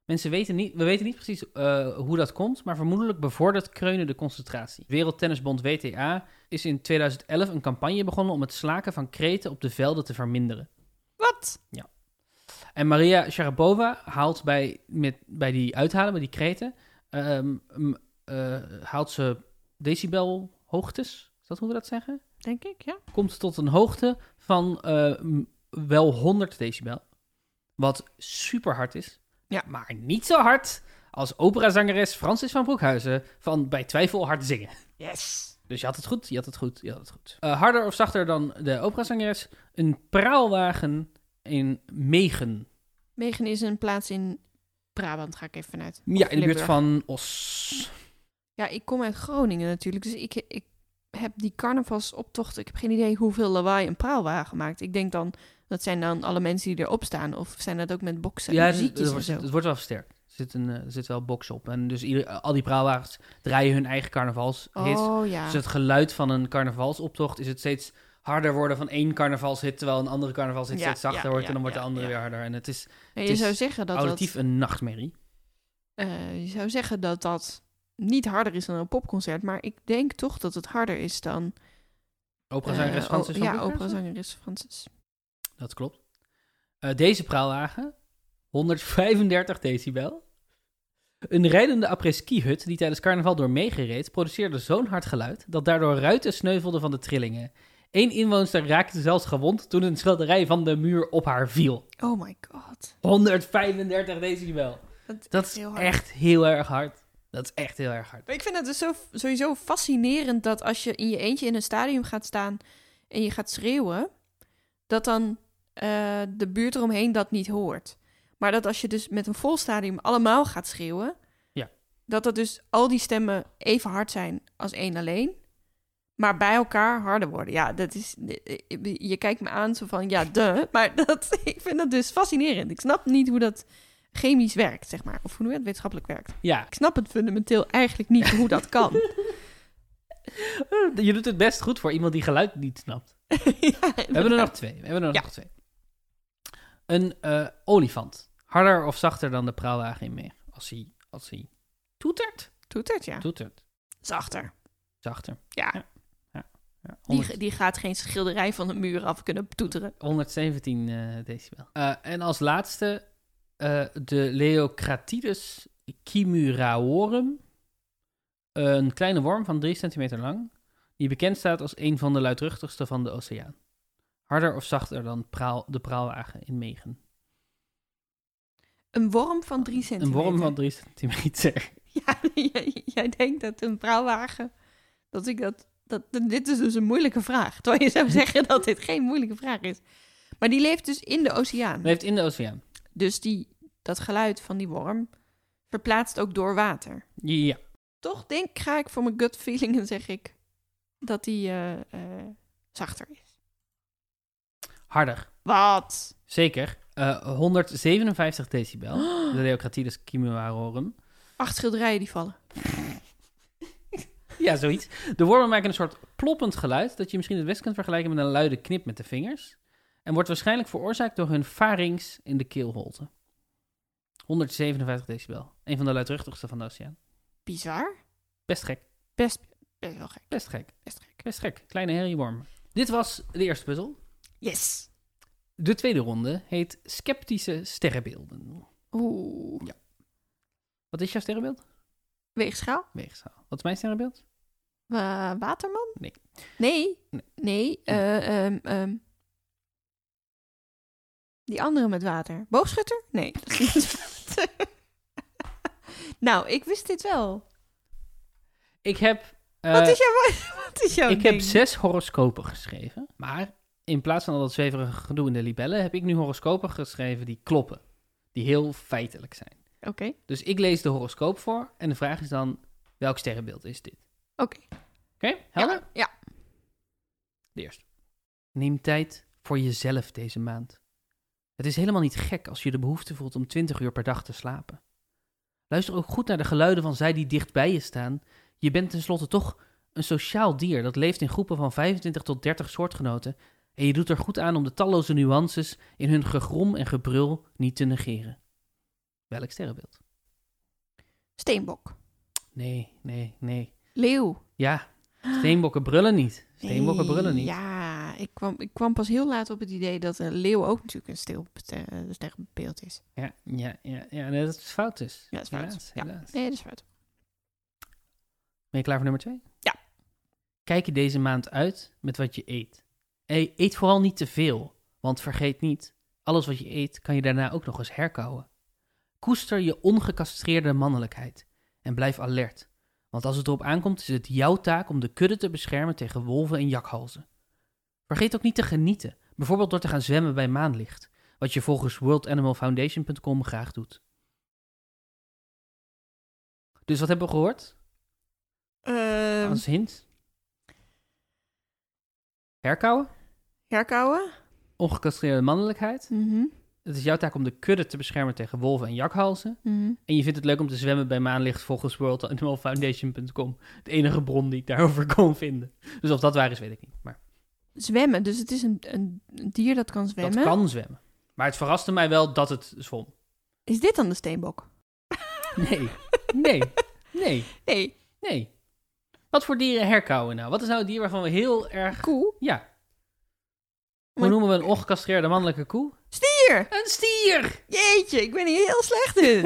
[SPEAKER 2] Mensen weten niet, we weten niet precies eh, hoe dat komt, maar vermoedelijk bevordert kreunen de concentratie. Wereldtennisbond WTA is in 2011 een campagne begonnen om het slaken van kreten op de velden te verminderen.
[SPEAKER 1] Wat?
[SPEAKER 2] En Maria Sharapova haalt bij, met, bij die uithalen, bij die kreten, ehm, m, eh, haalt ze decibelhoogtes, is dat hoe we dat zeggen?
[SPEAKER 1] Denk ik, ja.
[SPEAKER 2] Komt tot een hoogte van eh, m, wel 100 decibel, wat super hard is,
[SPEAKER 1] Ja.
[SPEAKER 2] maar niet zo hard als operazangeres Francis van Broekhuizen van bij twijfel hard zingen.
[SPEAKER 1] Yes.
[SPEAKER 2] Dus je had het goed, je had het goed, je had het goed. Eh, harder of zachter dan de operazangeres, een praalwagen in Megen.
[SPEAKER 1] Megen is een plaats in Brabant, ga ik even vanuit.
[SPEAKER 2] Ja, in de buurt
[SPEAKER 1] Limburg.
[SPEAKER 2] van Os.
[SPEAKER 1] Ja, ik kom uit Groningen natuurlijk, dus ik, ik heb die carnavalsoptochten. Ik heb geen idee hoeveel lawaai een praalwagen maakt. Ik denk dan, dat zijn dan alle mensen die erop staan. Of zijn dat ook met boksen
[SPEAKER 2] Ja,
[SPEAKER 1] en
[SPEAKER 2] het, het,
[SPEAKER 1] muziekjes en
[SPEAKER 2] wordt,
[SPEAKER 1] zo?
[SPEAKER 2] het wordt wel versterkt. Er zit, een, eh, er zit wel box op. En dus ieder, al die praalwagens draaien hun eigen carnavalshit.
[SPEAKER 1] Oh ja.
[SPEAKER 2] Dus het geluid van een carnavalsoptocht is het steeds harder worden van één carnavalshit... terwijl een andere carnavalshit
[SPEAKER 1] Ja,
[SPEAKER 2] steeds zachter
[SPEAKER 1] ja,
[SPEAKER 2] wordt...
[SPEAKER 1] ja,
[SPEAKER 2] en dan wordt
[SPEAKER 1] ja,
[SPEAKER 2] de andere
[SPEAKER 1] ja.
[SPEAKER 2] weer harder. En het is
[SPEAKER 1] En
[SPEAKER 2] het
[SPEAKER 1] je
[SPEAKER 2] is
[SPEAKER 1] zou zeggen dat dat,
[SPEAKER 2] auditief een nachtmerrie.
[SPEAKER 1] eh, je zou zeggen dat dat niet harder is dan een popconcert, maar ik denk toch dat het harder is dan.
[SPEAKER 2] Operazangeres
[SPEAKER 1] eh,
[SPEAKER 2] Francis
[SPEAKER 1] o-
[SPEAKER 2] van
[SPEAKER 1] Ja,
[SPEAKER 2] Broekhuizen?
[SPEAKER 1] operazangeres Francis.
[SPEAKER 2] Dat klopt. Eh, deze praalwagen, 135 decibel. Een rijdende apres-ski-hut die tijdens carnaval door meegereed, produceerde zo'n hard geluid dat daardoor ruiten sneuvelden van de trillingen. Eén inwoonster raakte zelfs gewond toen een schilderij van de muur op haar viel.
[SPEAKER 1] Oh my god.
[SPEAKER 2] 135 decibel.
[SPEAKER 1] Dat is,
[SPEAKER 2] Dat is
[SPEAKER 1] heel hard.
[SPEAKER 2] echt heel erg hard. Dat is echt heel erg hard.
[SPEAKER 1] Maar ik vind het dus zo, sowieso fascinerend dat als je in je eentje in een stadium gaat staan en je gaat schreeuwen, dat dan eh, de buurt eromheen dat niet hoort. Maar dat als je dus met een vol stadium allemaal gaat schreeuwen,
[SPEAKER 2] Ja.
[SPEAKER 1] dat dat dus al die stemmen even hard zijn als één alleen, maar bij elkaar harder worden. Ja, dat is. Je kijkt me aan zo van ja, de. (laughs) Maar dat, ik vind dat dus fascinerend. Ik snap niet hoe dat chemisch werkt, zeg maar. Of hoe het wetenschappelijk werkt. (laughs)
[SPEAKER 2] Ja,
[SPEAKER 1] Ik snap het fundamenteel eigenlijk niet hoe dat kan.
[SPEAKER 2] je doet het best goed voor iemand die geluid niet snapt. We hebben er nog twee. We hebben er
[SPEAKER 1] Ja.
[SPEAKER 2] nog twee. Een eh, olifant. Harder of zachter dan de praalwagen in meer. Als hij, als hij toetert.
[SPEAKER 1] Toetert, ja.
[SPEAKER 2] Toetert.
[SPEAKER 1] Zachter.
[SPEAKER 2] Zachter.
[SPEAKER 1] Ja.
[SPEAKER 2] Ja,
[SPEAKER 1] Die,
[SPEAKER 2] 100
[SPEAKER 1] die gaat geen schilderij van de muur af kunnen toeteren.
[SPEAKER 2] 117 eh, decibel. Eh, en als laatste eh, de Leocratidus chimeraorum. Een kleine worm van 3 centimeter lang. Die bekend staat als een van de luidruchtigste van de oceaan. Harder of zachter dan praal, de praalwagen in Megen.
[SPEAKER 1] Een worm van drie
[SPEAKER 2] Een
[SPEAKER 1] centimeter.
[SPEAKER 2] worm van 3
[SPEAKER 1] (laughs)
[SPEAKER 2] centimeter.
[SPEAKER 1] Ja, jij, jij denkt dat een praalwagen... Dat ik dat, dat... Dit is dus een moeilijke vraag. Terwijl je zou zeggen dat dit geen moeilijke vraag is. Maar die leeft dus in de oceaan.
[SPEAKER 2] Leeft in de oceaan.
[SPEAKER 1] Dus die, dat geluid van die worm verplaatst ook door water.
[SPEAKER 2] Ja.
[SPEAKER 1] Toch denk, ga ik voor mijn gut feeling en zeg ik dat die eh, eh, zachter is.
[SPEAKER 2] Harder.
[SPEAKER 1] Wat?
[SPEAKER 2] Zeker. Eh, 157 decibel. De Leocratidus chimerorum.
[SPEAKER 1] Acht schilderijen die vallen.
[SPEAKER 2] Ja, zoiets. De wormen maken een soort ploppend geluid dat je misschien het best kunt vergelijken met een luide knip met de vingers. En wordt waarschijnlijk veroorzaakt door hun pharynx in de keelholte. 157 decibel. Een van de luidruchtigste van de oceaan.
[SPEAKER 1] Bizar.
[SPEAKER 2] Best gek.
[SPEAKER 1] Best, best wel gek.
[SPEAKER 2] Best gek.
[SPEAKER 1] Best gek.
[SPEAKER 2] Best gek. Kleine herrieworm. Dit was de eerste puzzel.
[SPEAKER 1] Yes.
[SPEAKER 2] De tweede ronde heet Sceptische Sterrenbeelden.
[SPEAKER 1] Oeh.
[SPEAKER 2] Wat is jouw sterrenbeeld?
[SPEAKER 1] Weegschaal?
[SPEAKER 2] Weegschaal. Wat is mijn sterrenbeeld?
[SPEAKER 1] Eh, waterman?
[SPEAKER 2] Nee.
[SPEAKER 1] Nee.
[SPEAKER 2] Nee.
[SPEAKER 1] Nee. eh, ehm, ehm. Die andere met water. Boogschutter? Nee. (laughs) dat is niet water. nou, ik wist dit wel.
[SPEAKER 2] Ik heb, eh,
[SPEAKER 1] wat is jouw, (laughs) wat is jouw
[SPEAKER 2] ik
[SPEAKER 1] ding?
[SPEAKER 2] heb zes horoscopen geschreven. Maar in plaats van al dat zweverige gedoe in de libellen, heb ik nu horoscopen geschreven die kloppen. Die heel feitelijk zijn.
[SPEAKER 1] Oké,
[SPEAKER 2] Dus ik lees de horoscoop voor en de vraag is dan, welk sterrenbeeld is dit?
[SPEAKER 1] oké.
[SPEAKER 2] Oké, helder?
[SPEAKER 1] Ja, ja.
[SPEAKER 2] De eerste. Neem tijd voor jezelf deze maand. Het is helemaal niet gek als je de behoefte voelt om 20 uur per dag te slapen. Luister ook goed naar de geluiden van zij die dicht bij je staan. Je bent tenslotte toch een sociaal dier dat leeft in groepen van 25 tot 30 soortgenoten en je doet er goed aan om de talloze nuances in hun gegrom en gebrul niet te negeren. Welk sterrenbeeld?
[SPEAKER 1] Steenbok.
[SPEAKER 2] Nee, nee, nee.
[SPEAKER 1] Leeuw.
[SPEAKER 2] Ja, steenbokken brullen niet. Steenbokken brullen niet.
[SPEAKER 1] Ja, ik kwam, ik kwam pas heel laat op het idee dat een leeuw ook natuurlijk een stil eh, sterrenbeeld is.
[SPEAKER 2] Ja, ja, ja, ja nee, dat is fout dus.
[SPEAKER 1] Ja, dat is fout.
[SPEAKER 2] Helaas,
[SPEAKER 1] Ja.
[SPEAKER 2] helaas.
[SPEAKER 1] Nee, dat is fout.
[SPEAKER 2] Ben je klaar voor nummer twee?
[SPEAKER 1] Ja.
[SPEAKER 2] Kijk je deze maand uit met wat je eet. E- eet vooral niet te veel, want vergeet niet, alles wat je eet kan je daarna ook nog eens herkauwen. Koester je ongecastreerde mannelijkheid en blijf alert, want als het erop aankomt is het jouw taak om de kudde te beschermen tegen wolven en jakhalzen. Vergeet ook niet te genieten, bijvoorbeeld door te gaan zwemmen bij maanlicht, wat je volgens worldanimalfoundation.com graag doet. Dus wat hebben we gehoord?
[SPEAKER 1] Ehm
[SPEAKER 2] Als hint. Herkauwen,
[SPEAKER 1] herkauwen?
[SPEAKER 2] ongecastreerde mannelijkheid.
[SPEAKER 1] Mhm.
[SPEAKER 2] Het is jouw taak om de kudde te beschermen tegen wolven en jakhalzen.
[SPEAKER 1] Mhm.
[SPEAKER 2] En je vindt het leuk om te zwemmen bij maanlicht volgens (laughs) worldanimalfoundation.com. De enige bron die ik daarover (laughs) kon vinden. Dus of dat waar is, weet ik niet. Maar
[SPEAKER 1] Zwemmen, dus het is een, een een dier dat kan zwemmen.
[SPEAKER 2] dat kan zwemmen. Maar het verraste mij wel dat het zwom.
[SPEAKER 1] Is dit dan de steenbok?
[SPEAKER 2] (laughs) Nee, nee, nee,
[SPEAKER 1] Nee,
[SPEAKER 2] nee. Wat voor dieren herkauwen nou? Wat is nou het dier waarvan we heel erg...
[SPEAKER 1] koe.
[SPEAKER 2] Ja. Hoe
[SPEAKER 1] Maar-
[SPEAKER 2] noemen we een ongecastreerde mannelijke koe?
[SPEAKER 1] Stier!
[SPEAKER 2] Een stier!
[SPEAKER 1] Jeetje, ik ben hier heel slecht
[SPEAKER 2] (laughs)
[SPEAKER 1] in.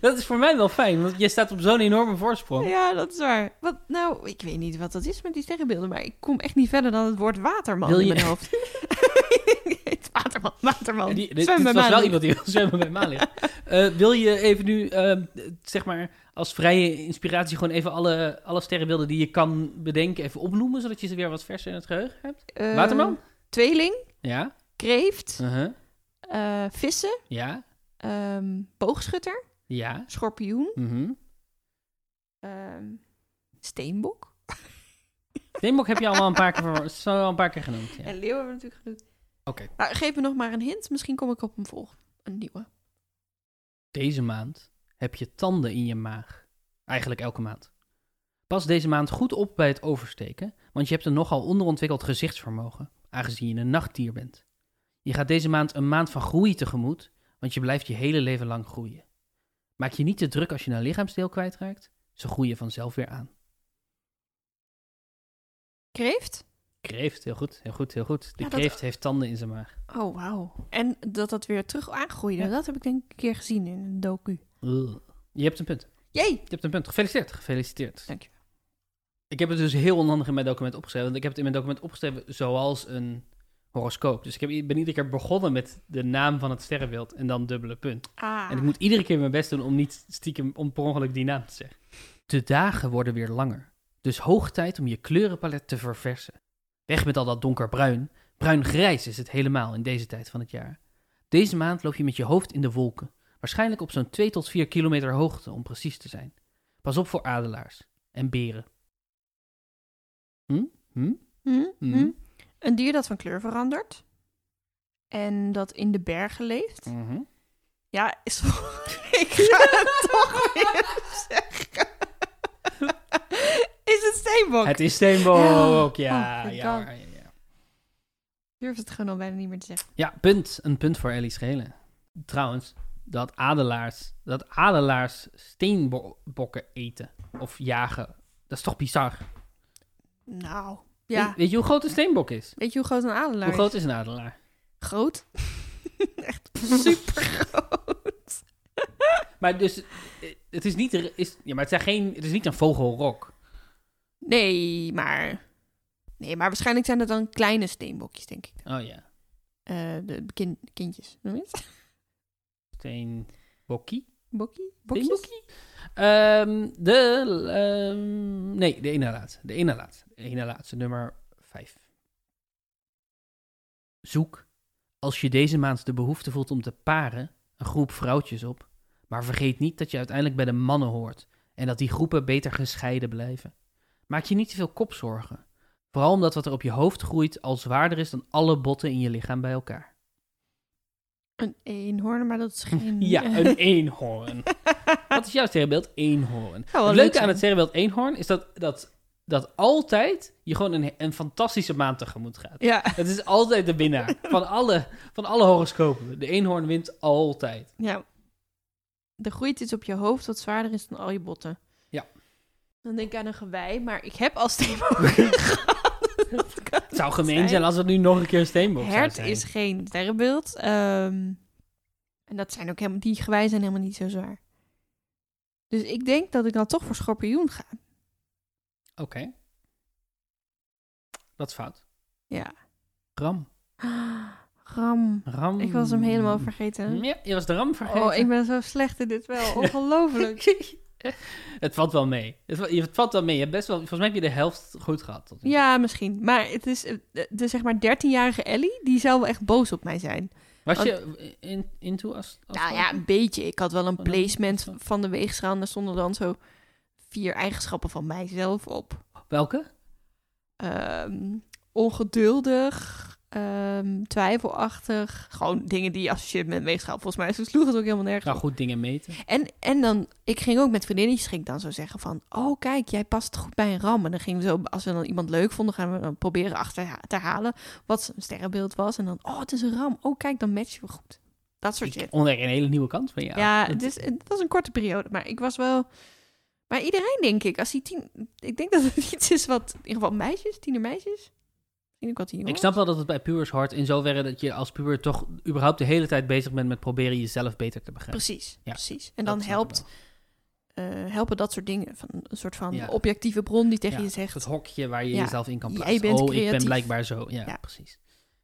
[SPEAKER 2] Dat is voor mij wel fijn, want je staat op zo'n enorme voorsprong.
[SPEAKER 1] Oh ja, dat is waar. Wat, nou, ik weet niet wat dat is met die sterrenbeelden, maar ik kom echt niet verder dan het woord waterman
[SPEAKER 2] Wil
[SPEAKER 1] in
[SPEAKER 2] je-
[SPEAKER 1] mijn
[SPEAKER 2] (laughs)
[SPEAKER 1] hoofd. Het waterman, waterman.
[SPEAKER 2] En die- dit,
[SPEAKER 1] Zwem
[SPEAKER 2] dit
[SPEAKER 1] Oh, bij mij
[SPEAKER 2] was wel
[SPEAKER 1] niet.
[SPEAKER 2] iemand die wil (laughs) zwemmen bij Mali. Eh, wil je even nu, eh, zeg maar, als vrije inspiratie gewoon even alle, alle sterrenbeelden die je kan bedenken even opnoemen, zodat je ze weer wat verser in het geheugen hebt?
[SPEAKER 1] Eh,
[SPEAKER 2] waterman?
[SPEAKER 1] Tweeling,
[SPEAKER 2] Ja.
[SPEAKER 1] kreeft,
[SPEAKER 2] Uh-huh.
[SPEAKER 1] eh, vissen,
[SPEAKER 2] Ja.
[SPEAKER 1] ehm, boogschutter,
[SPEAKER 2] Ja.
[SPEAKER 1] schorpioen,
[SPEAKER 2] Mhm.
[SPEAKER 1] ehm, steenbok.
[SPEAKER 2] Steenbok heb je allemaal een paar keer, voor, zo al een paar keer genoemd.
[SPEAKER 1] (laughs)
[SPEAKER 2] Ja.
[SPEAKER 1] En leeuw hebben we natuurlijk genoemd.
[SPEAKER 2] Oké.
[SPEAKER 1] Nou, geef me nog maar een hint, misschien kom ik op een volg. Een nieuwe.
[SPEAKER 2] Deze maand heb je tanden in je maag. Eigenlijk elke maand. Pas deze maand goed op bij het oversteken, want je hebt een nogal onderontwikkeld gezichtsvermogen, aangezien je een nachtdier bent. Je gaat deze maand een maand van groei tegemoet, want je blijft je hele leven lang groeien. Maak je niet te druk als je een lichaamsdeel kwijtraakt, ze groeien vanzelf weer aan.
[SPEAKER 1] Kreeft?
[SPEAKER 2] Kreeft, heel goed, heel goed, heel goed. De
[SPEAKER 1] Ja, dat-
[SPEAKER 2] kreeft heeft tanden in zijn maag.
[SPEAKER 1] Oh, wauw. En dat dat weer terug aangroeide,
[SPEAKER 2] Ja.
[SPEAKER 1] dat heb ik denk ik een keer gezien in een docu.
[SPEAKER 2] Ugh. Je hebt een punt.
[SPEAKER 1] Jee!
[SPEAKER 2] Je hebt een punt. Gefeliciteerd, gefeliciteerd.
[SPEAKER 1] Dank je.
[SPEAKER 2] Ik heb het dus heel onhandig in mijn document opgeschreven. Want ik heb het in mijn document opgeschreven zoals een horoscoop. Dus ik heb, ik ben iedere keer begonnen met de naam van het sterrenbeeld en dan dubbele punt.
[SPEAKER 1] Ah.
[SPEAKER 2] En ik moet iedere keer mijn best doen om niet stiekem om per ongeluk die naam te zeggen. De dagen worden weer langer. Dus hoog tijd om je kleurenpalet te verversen. Weg met al dat donkerbruin. Bruin-grijs is het helemaal in deze tijd van het jaar. Deze maand loop je met je hoofd in de wolken. Waarschijnlijk op zo'n 2 tot 4 kilometer hoogte om precies te zijn. Pas op voor adelaars en beren. Hm? Hm?
[SPEAKER 1] Hm?
[SPEAKER 2] Mhm.
[SPEAKER 1] Hm? Een dier dat van kleur verandert. En dat in de bergen leeft. Ja, is... (laughs) ik ga het toch weer zeggen. Is een steenbok.
[SPEAKER 2] Het is steenbok,
[SPEAKER 1] Ja,
[SPEAKER 2] ja.
[SPEAKER 1] oh,
[SPEAKER 2] ja,
[SPEAKER 1] dank.
[SPEAKER 2] hoor, ja, ja.
[SPEAKER 1] Ik durf het gewoon al bijna niet meer te zeggen.
[SPEAKER 2] Ja, punt. Een punt voor Ellie Schelen. Trouwens, dat adelaars, dat adelaars steenbokken eten of jagen, dat is toch bizar?
[SPEAKER 1] Nou, ja.
[SPEAKER 2] Weet, weet je hoe groot een steenbok is?
[SPEAKER 1] Weet je hoe groot een adelaar
[SPEAKER 2] Hoe groot is een adelaar?
[SPEAKER 1] is? Groot. (laughs) Echt super groot.
[SPEAKER 2] Maar dus, eh, het is niet, er is, ja, maar het, zijn geen, het is niet een vogelrok.
[SPEAKER 1] Nee, maar... Nee, maar waarschijnlijk zijn dat dan kleine steenbokjes, denk ik.
[SPEAKER 2] Oh ja,
[SPEAKER 1] Eh, de kin- kindjes, noem je het?
[SPEAKER 2] steenbokkie.
[SPEAKER 1] (laughs) Bokkie? Bokjes?
[SPEAKER 2] Steenbokkie? Ehm, de, ehm, nee, de ene laatste. De ene laatste. De ene laatste, nummer vijf. Zoek, als je deze maand de behoefte voelt om te paren, een groep vrouwtjes op. Maar vergeet niet dat je uiteindelijk bij de mannen hoort en dat die groepen beter gescheiden blijven. Maak je niet te veel kopzorgen. Vooral omdat wat er op je hoofd groeit al zwaarder is dan alle botten in je lichaam bij elkaar.
[SPEAKER 1] Een eenhoorn, maar dat is geen... (laughs)
[SPEAKER 2] Ja, een eenhoorn. (laughs) Wat is jouw sterrenbeeld? Eenhoorn.
[SPEAKER 1] wel leuk
[SPEAKER 2] het leuke
[SPEAKER 1] zijn.
[SPEAKER 2] aan het sterrenbeeld eenhoorn is dat, dat, dat altijd je gewoon een, een fantastische maand tegemoet gaat.
[SPEAKER 1] Ja,
[SPEAKER 2] Het is altijd de
[SPEAKER 1] (laughs)
[SPEAKER 2] winnaar van alle, van alle horoscopen. De eenhoorn wint altijd.
[SPEAKER 1] ja. Er groeit iets op je hoofd wat zwaarder is dan al je botten.
[SPEAKER 2] Ja.
[SPEAKER 1] Dan denk ik aan een gewei, maar ik heb al
[SPEAKER 2] (laughs)
[SPEAKER 1] steenbokken gehad. (laughs) Dat kan
[SPEAKER 2] Het zou
[SPEAKER 1] niet
[SPEAKER 2] gemeen zijn als het nu nog een keer een steenbok zou
[SPEAKER 1] Hert
[SPEAKER 2] zijn.
[SPEAKER 1] is geen sterrenbeeld. ehm, en dat zijn ook helemaal, die gewijzen zijn helemaal niet zo zwaar. Dus ik denk dat ik dan toch voor schorpioen ga. (gasps)
[SPEAKER 2] Oké. Dat is fout.
[SPEAKER 1] Ja.
[SPEAKER 2] Ram.
[SPEAKER 1] Ram.
[SPEAKER 2] Ram.
[SPEAKER 1] Ik was hem helemaal vergeten.
[SPEAKER 2] Ja, je was de ram Mm. vergeten. (laughs)
[SPEAKER 1] Oh, ik ben zo slecht in dit wel. Ongelooflijk. (laughs)
[SPEAKER 2] Het valt wel mee. Het, va- het valt wel mee. Je hebt best wel, volgens mij heb je de helft goed gehad. Tot nu toe.
[SPEAKER 1] Ja, misschien. Maar het is eh, de zeg maar 13-jarige Ellie, die zou wel echt boos op mij zijn.
[SPEAKER 2] Was je in, into als, als
[SPEAKER 1] Nou
[SPEAKER 2] vrouw?
[SPEAKER 1] ja, een beetje. Ik had wel een
[SPEAKER 2] Van de-
[SPEAKER 1] placement van de weegschaal. En daar stonden dan zo vier eigenschappen van mijzelf op.
[SPEAKER 2] Welke?
[SPEAKER 1] ehm, ongeduldig, ehm, twijfelachtig. Gewoon dingen die je associeert met weegschaal. Volgens mij ze sloeg het ook helemaal nergens
[SPEAKER 2] Nou,
[SPEAKER 1] op.
[SPEAKER 2] goed dingen meten.
[SPEAKER 1] En, en dan, ik ging ook met vriendinnetjes ging ik dan zo zeggen van... Oh, kijk, jij past goed bij een ram. En dan gingen we zo, als we dan iemand leuk vonden... gaan we dan proberen achter te halen wat zijn sterrenbeeld was. En dan, oh, het is een ram. Oh, kijk, dan matchen we goed. Dat soort
[SPEAKER 2] Ik
[SPEAKER 1] shit.
[SPEAKER 2] ontdek een hele nieuwe kant van jou.
[SPEAKER 1] Ja,
[SPEAKER 2] Dat-
[SPEAKER 1] het is, het was een korte periode, maar ik was wel... Maar iedereen, denk ik, als die tien... Ik denk dat het (laughs) iets is wat... In ieder geval meisjes, tienermeisjes. Misschien ook wat tien
[SPEAKER 2] ik snap wel dat het bij pubers hard in zoverre dat je als puber toch überhaupt de hele tijd bezig bent met proberen jezelf beter te begrijpen.
[SPEAKER 1] Precies,
[SPEAKER 2] Ja,
[SPEAKER 1] precies. En dan
[SPEAKER 2] Dat snap ik
[SPEAKER 1] helpt,
[SPEAKER 2] wel.
[SPEAKER 1] eh, helpen dat soort dingen. Van een soort van
[SPEAKER 2] Ja.
[SPEAKER 1] objectieve bron die tegen
[SPEAKER 2] Ja,
[SPEAKER 1] je zegt...
[SPEAKER 2] Het hokje waar je
[SPEAKER 1] Ja,
[SPEAKER 2] jezelf in kan
[SPEAKER 1] jij
[SPEAKER 2] plaatsen.
[SPEAKER 1] bent
[SPEAKER 2] oh, ik ben
[SPEAKER 1] creatief.
[SPEAKER 2] blijkbaar zo. Ja,
[SPEAKER 1] Ja.
[SPEAKER 2] precies.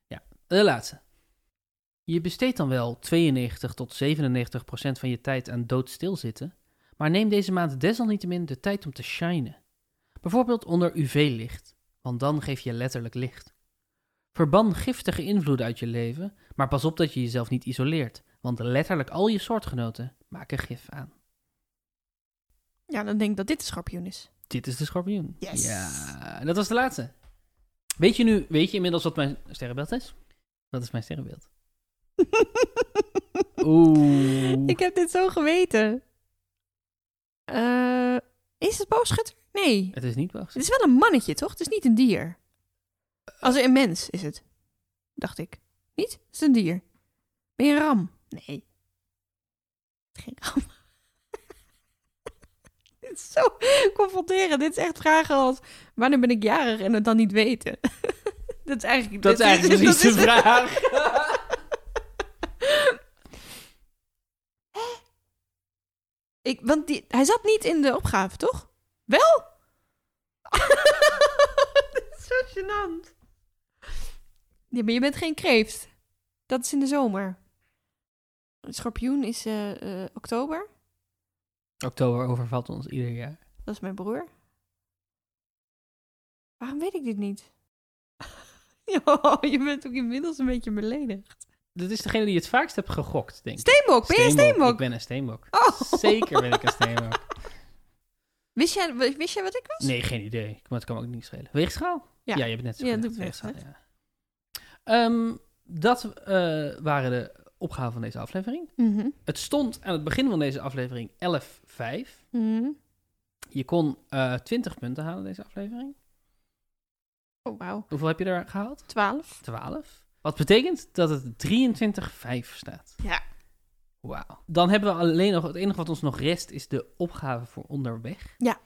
[SPEAKER 2] Ja. De laatste. Je besteedt dan wel 92 tot 97 procent van je tijd aan doodstil zitten, maar neem deze maand desalniettemin de tijd om te shinen. Bijvoorbeeld onder UV-licht, want dan geef je letterlijk licht. Verban giftige invloeden uit je leven, maar pas op dat je jezelf niet isoleert, want letterlijk al je soortgenoten maken gif aan.
[SPEAKER 1] Ja, dan denk ik dat dit de schorpioen is.
[SPEAKER 2] Dit is de schorpioen.
[SPEAKER 1] Yes.
[SPEAKER 2] Ja, dat was de laatste. Weet je nu, weet je inmiddels wat mijn sterrenbeeld is? Wat is mijn sterrenbeeld? (laughs) Oeh.
[SPEAKER 1] Ik heb dit zo geweten. Eh, is het boogschutter? Nee.
[SPEAKER 2] Het is
[SPEAKER 1] (laughs)
[SPEAKER 2] niet wacht.
[SPEAKER 1] Het is wel een mannetje, toch? Het is niet een dier. Als een mens is het. Dacht ik. Niet? Het is een dier. Ben je een ram? Nee. (laughs) Geen ram. Dit is zo confronterend. Dit is echt vragen als... Wanneer ben ik jarig en het dan niet weten? (laughs) dat is eigenlijk...
[SPEAKER 2] Dat is
[SPEAKER 1] dit (laughs)
[SPEAKER 2] eigenlijk precies
[SPEAKER 1] dat
[SPEAKER 2] de vraag.
[SPEAKER 1] (laughs) ik, want die, hij zat niet in de opgave, toch? Wel? (laughs) Dit is zo gênant. Ja, maar je bent geen kreeft. Dat is in de zomer. Schorpioen is eh, eh, oktober.
[SPEAKER 2] Oktober overvalt ons ieder jaar.
[SPEAKER 1] Dat is mijn broer. Waarom weet ik dit niet? (laughs) Joh, je bent ook inmiddels een beetje beledigd.
[SPEAKER 2] Dat is degene die het vaakst hebt gegokt, denk ik.
[SPEAKER 1] Steenbok, ben je een
[SPEAKER 2] Ik
[SPEAKER 1] steenbok?
[SPEAKER 2] ben een steenbok.
[SPEAKER 1] Oh.
[SPEAKER 2] Zeker ben ik een
[SPEAKER 1] (laughs)
[SPEAKER 2] steenbok.
[SPEAKER 1] Wist jij, wist jij wat ik was?
[SPEAKER 2] Nee, geen idee. Maar het kan me ook niet schelen. Weegschaal?
[SPEAKER 1] Ja.
[SPEAKER 2] je hebt net zo
[SPEAKER 1] Ja,
[SPEAKER 2] gezegd,
[SPEAKER 1] doe ik net,
[SPEAKER 2] weegschaal, ja. Ehm, dat eh, waren de opgaven van deze aflevering.
[SPEAKER 1] Mhm.
[SPEAKER 2] Het stond aan het begin van deze aflevering 11-5.
[SPEAKER 1] Mhm.
[SPEAKER 2] Je kon eh 20 punten halen deze aflevering.
[SPEAKER 1] Oh, wauw.
[SPEAKER 2] Hoeveel heb je er gehaald?
[SPEAKER 1] 12.
[SPEAKER 2] 12. Wat betekent dat het 23-5 staat.
[SPEAKER 1] Ja.
[SPEAKER 2] Wauw. Dan hebben we alleen nog, het enige wat ons nog rest is de opgave voor onderweg.
[SPEAKER 1] Ja.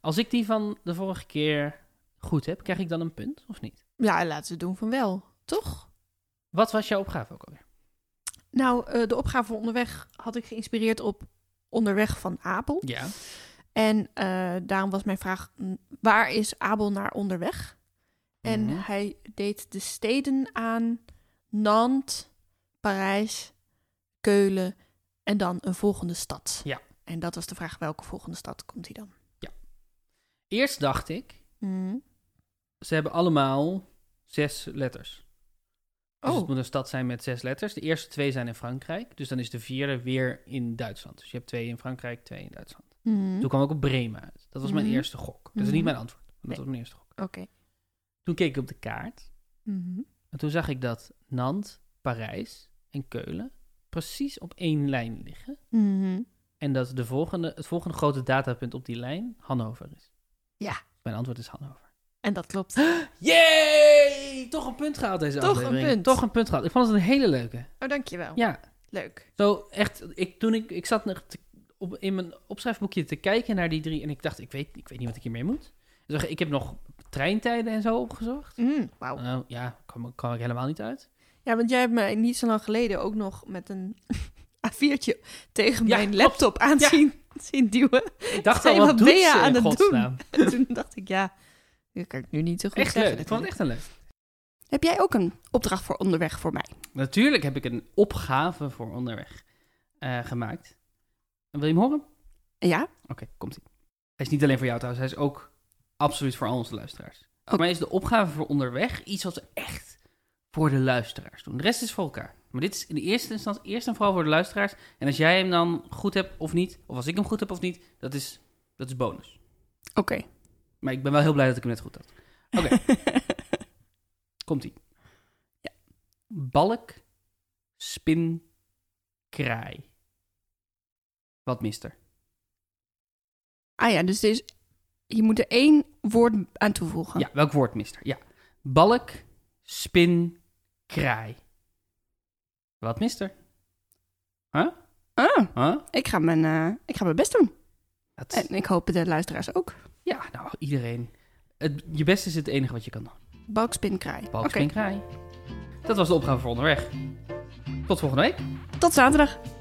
[SPEAKER 2] Als ik die van de vorige keer goed heb, krijg ik dan een punt of niet?
[SPEAKER 1] Ja, laten we doen van wel, toch?
[SPEAKER 2] Wat was jouw opgave ook alweer?
[SPEAKER 1] Nou, eh, de opgave voor onderweg had ik geïnspireerd op Onderweg van Abel.
[SPEAKER 2] Ja.
[SPEAKER 1] En eh, daarom was mijn vraag, m, waar is Abel naar onderweg? En
[SPEAKER 2] Mhm.
[SPEAKER 1] hij deed de steden aan Nantes, Parijs, Keulen en dan een volgende stad.
[SPEAKER 2] Ja.
[SPEAKER 1] En dat was de vraag, welke volgende stad komt hij dan?
[SPEAKER 2] Eerst dacht ik,
[SPEAKER 1] Mhm.
[SPEAKER 2] ze hebben allemaal zes letters. Dus het
[SPEAKER 1] Oh,
[SPEAKER 2] moet een stad zijn met zes letters. De eerste twee zijn in Frankrijk. Dus dan is de vierde weer in Duitsland. Dus je hebt twee in Frankrijk, twee in Duitsland.
[SPEAKER 1] mhm.
[SPEAKER 2] Toen kwam ik op Bremen uit. Dat was mijn
[SPEAKER 1] Mhm.
[SPEAKER 2] eerste gok. Dat is
[SPEAKER 1] Mhm.
[SPEAKER 2] niet mijn antwoord. maar Dat
[SPEAKER 1] Nee.
[SPEAKER 2] was mijn eerste gok.
[SPEAKER 1] oké.
[SPEAKER 2] Toen keek ik op de kaart.
[SPEAKER 1] Mhm.
[SPEAKER 2] En toen zag ik dat Nantes, Parijs en Keulen precies op één lijn liggen.
[SPEAKER 1] Mhm.
[SPEAKER 2] En dat de volgende, het volgende grote datapunt op die lijn Hannover is.
[SPEAKER 1] Ja.
[SPEAKER 2] Mijn antwoord is Hannover.
[SPEAKER 1] En dat klopt.
[SPEAKER 2] Yay! Toch een punt gehaald deze
[SPEAKER 1] Toch een
[SPEAKER 2] aflevering.
[SPEAKER 1] punt.
[SPEAKER 2] Toch een punt gehaald. Ik vond het een hele leuke.
[SPEAKER 1] Oh, dankjewel.
[SPEAKER 2] Ja,
[SPEAKER 1] Leuk.
[SPEAKER 2] zo echt. Ik, toen ik, ik zat nog te- op, in mijn opschrijfboekje te kijken naar die drie. En ik dacht, ik weet, ik weet niet wat ik hiermee moet. Dus ik heb nog treintijden en zo opgezocht.
[SPEAKER 1] Mm, Wauw.
[SPEAKER 2] Nou ja, kwam, kwam ik helemaal niet uit.
[SPEAKER 1] Ja, want jij hebt me niet zo lang geleden ook nog met een (laughs) A4'tje tegen
[SPEAKER 2] Ja,
[SPEAKER 1] mijn
[SPEAKER 2] klopt.
[SPEAKER 1] laptop aan
[SPEAKER 2] Ja.
[SPEAKER 1] zien, (laughs) zien duwen.
[SPEAKER 2] Ik dacht
[SPEAKER 1] Hey,
[SPEAKER 2] al, wat,
[SPEAKER 1] wat
[SPEAKER 2] doet
[SPEAKER 1] ben je
[SPEAKER 2] ze in
[SPEAKER 1] aan het doen? (laughs)
[SPEAKER 2] godsnaam?
[SPEAKER 1] En toen dacht ik, ja, dat kan ik nu niet zo goed
[SPEAKER 2] Echt
[SPEAKER 1] zeggen.
[SPEAKER 2] leuk. Ik vond het echt een leuk.
[SPEAKER 3] Heb jij ook een opdracht voor onderweg voor mij?
[SPEAKER 2] Natuurlijk heb ik een opgave voor onderweg eh, gemaakt. En wil je hem horen? Oké,
[SPEAKER 3] Ja?
[SPEAKER 2] komt ie. Hij is niet alleen voor jou trouwens, hij is ook absoluut voor al onze luisteraars. Voor mij is de opgave voor onderweg iets wat we echt voor de luisteraars doen. De rest is voor elkaar. Maar dit is in de eerste instantie eerst en vooral voor de luisteraars. En als jij hem dan goed hebt of niet, of als ik hem goed heb of niet, dat is, dat is bonus.
[SPEAKER 3] Oké.
[SPEAKER 2] Maar ik ben wel heel blij dat ik hem net goed had. Oké. Komt ie.
[SPEAKER 3] Ja.
[SPEAKER 2] Balk, spin, kraai. Wat mist er?
[SPEAKER 3] (laughs) ah ja, dus er is- je moet er één woord aan toevoegen.
[SPEAKER 2] Ja, welk woord mist er? Ja. Balk, spin, kraai. Wat mist er?
[SPEAKER 3] Ah,
[SPEAKER 2] Huh?
[SPEAKER 3] ik ga, mijn, eh, ik ga mijn best doen.
[SPEAKER 2] Dat-
[SPEAKER 3] En ik hoop de luisteraars ook.
[SPEAKER 2] Ja, nou, iedereen. Het, je best is het enige wat je kan doen.
[SPEAKER 3] Balkspin kraai.
[SPEAKER 2] Balk, spin, kraai. Dat was de opgave voor onderweg. Tot volgende week.
[SPEAKER 3] Tot zaterdag.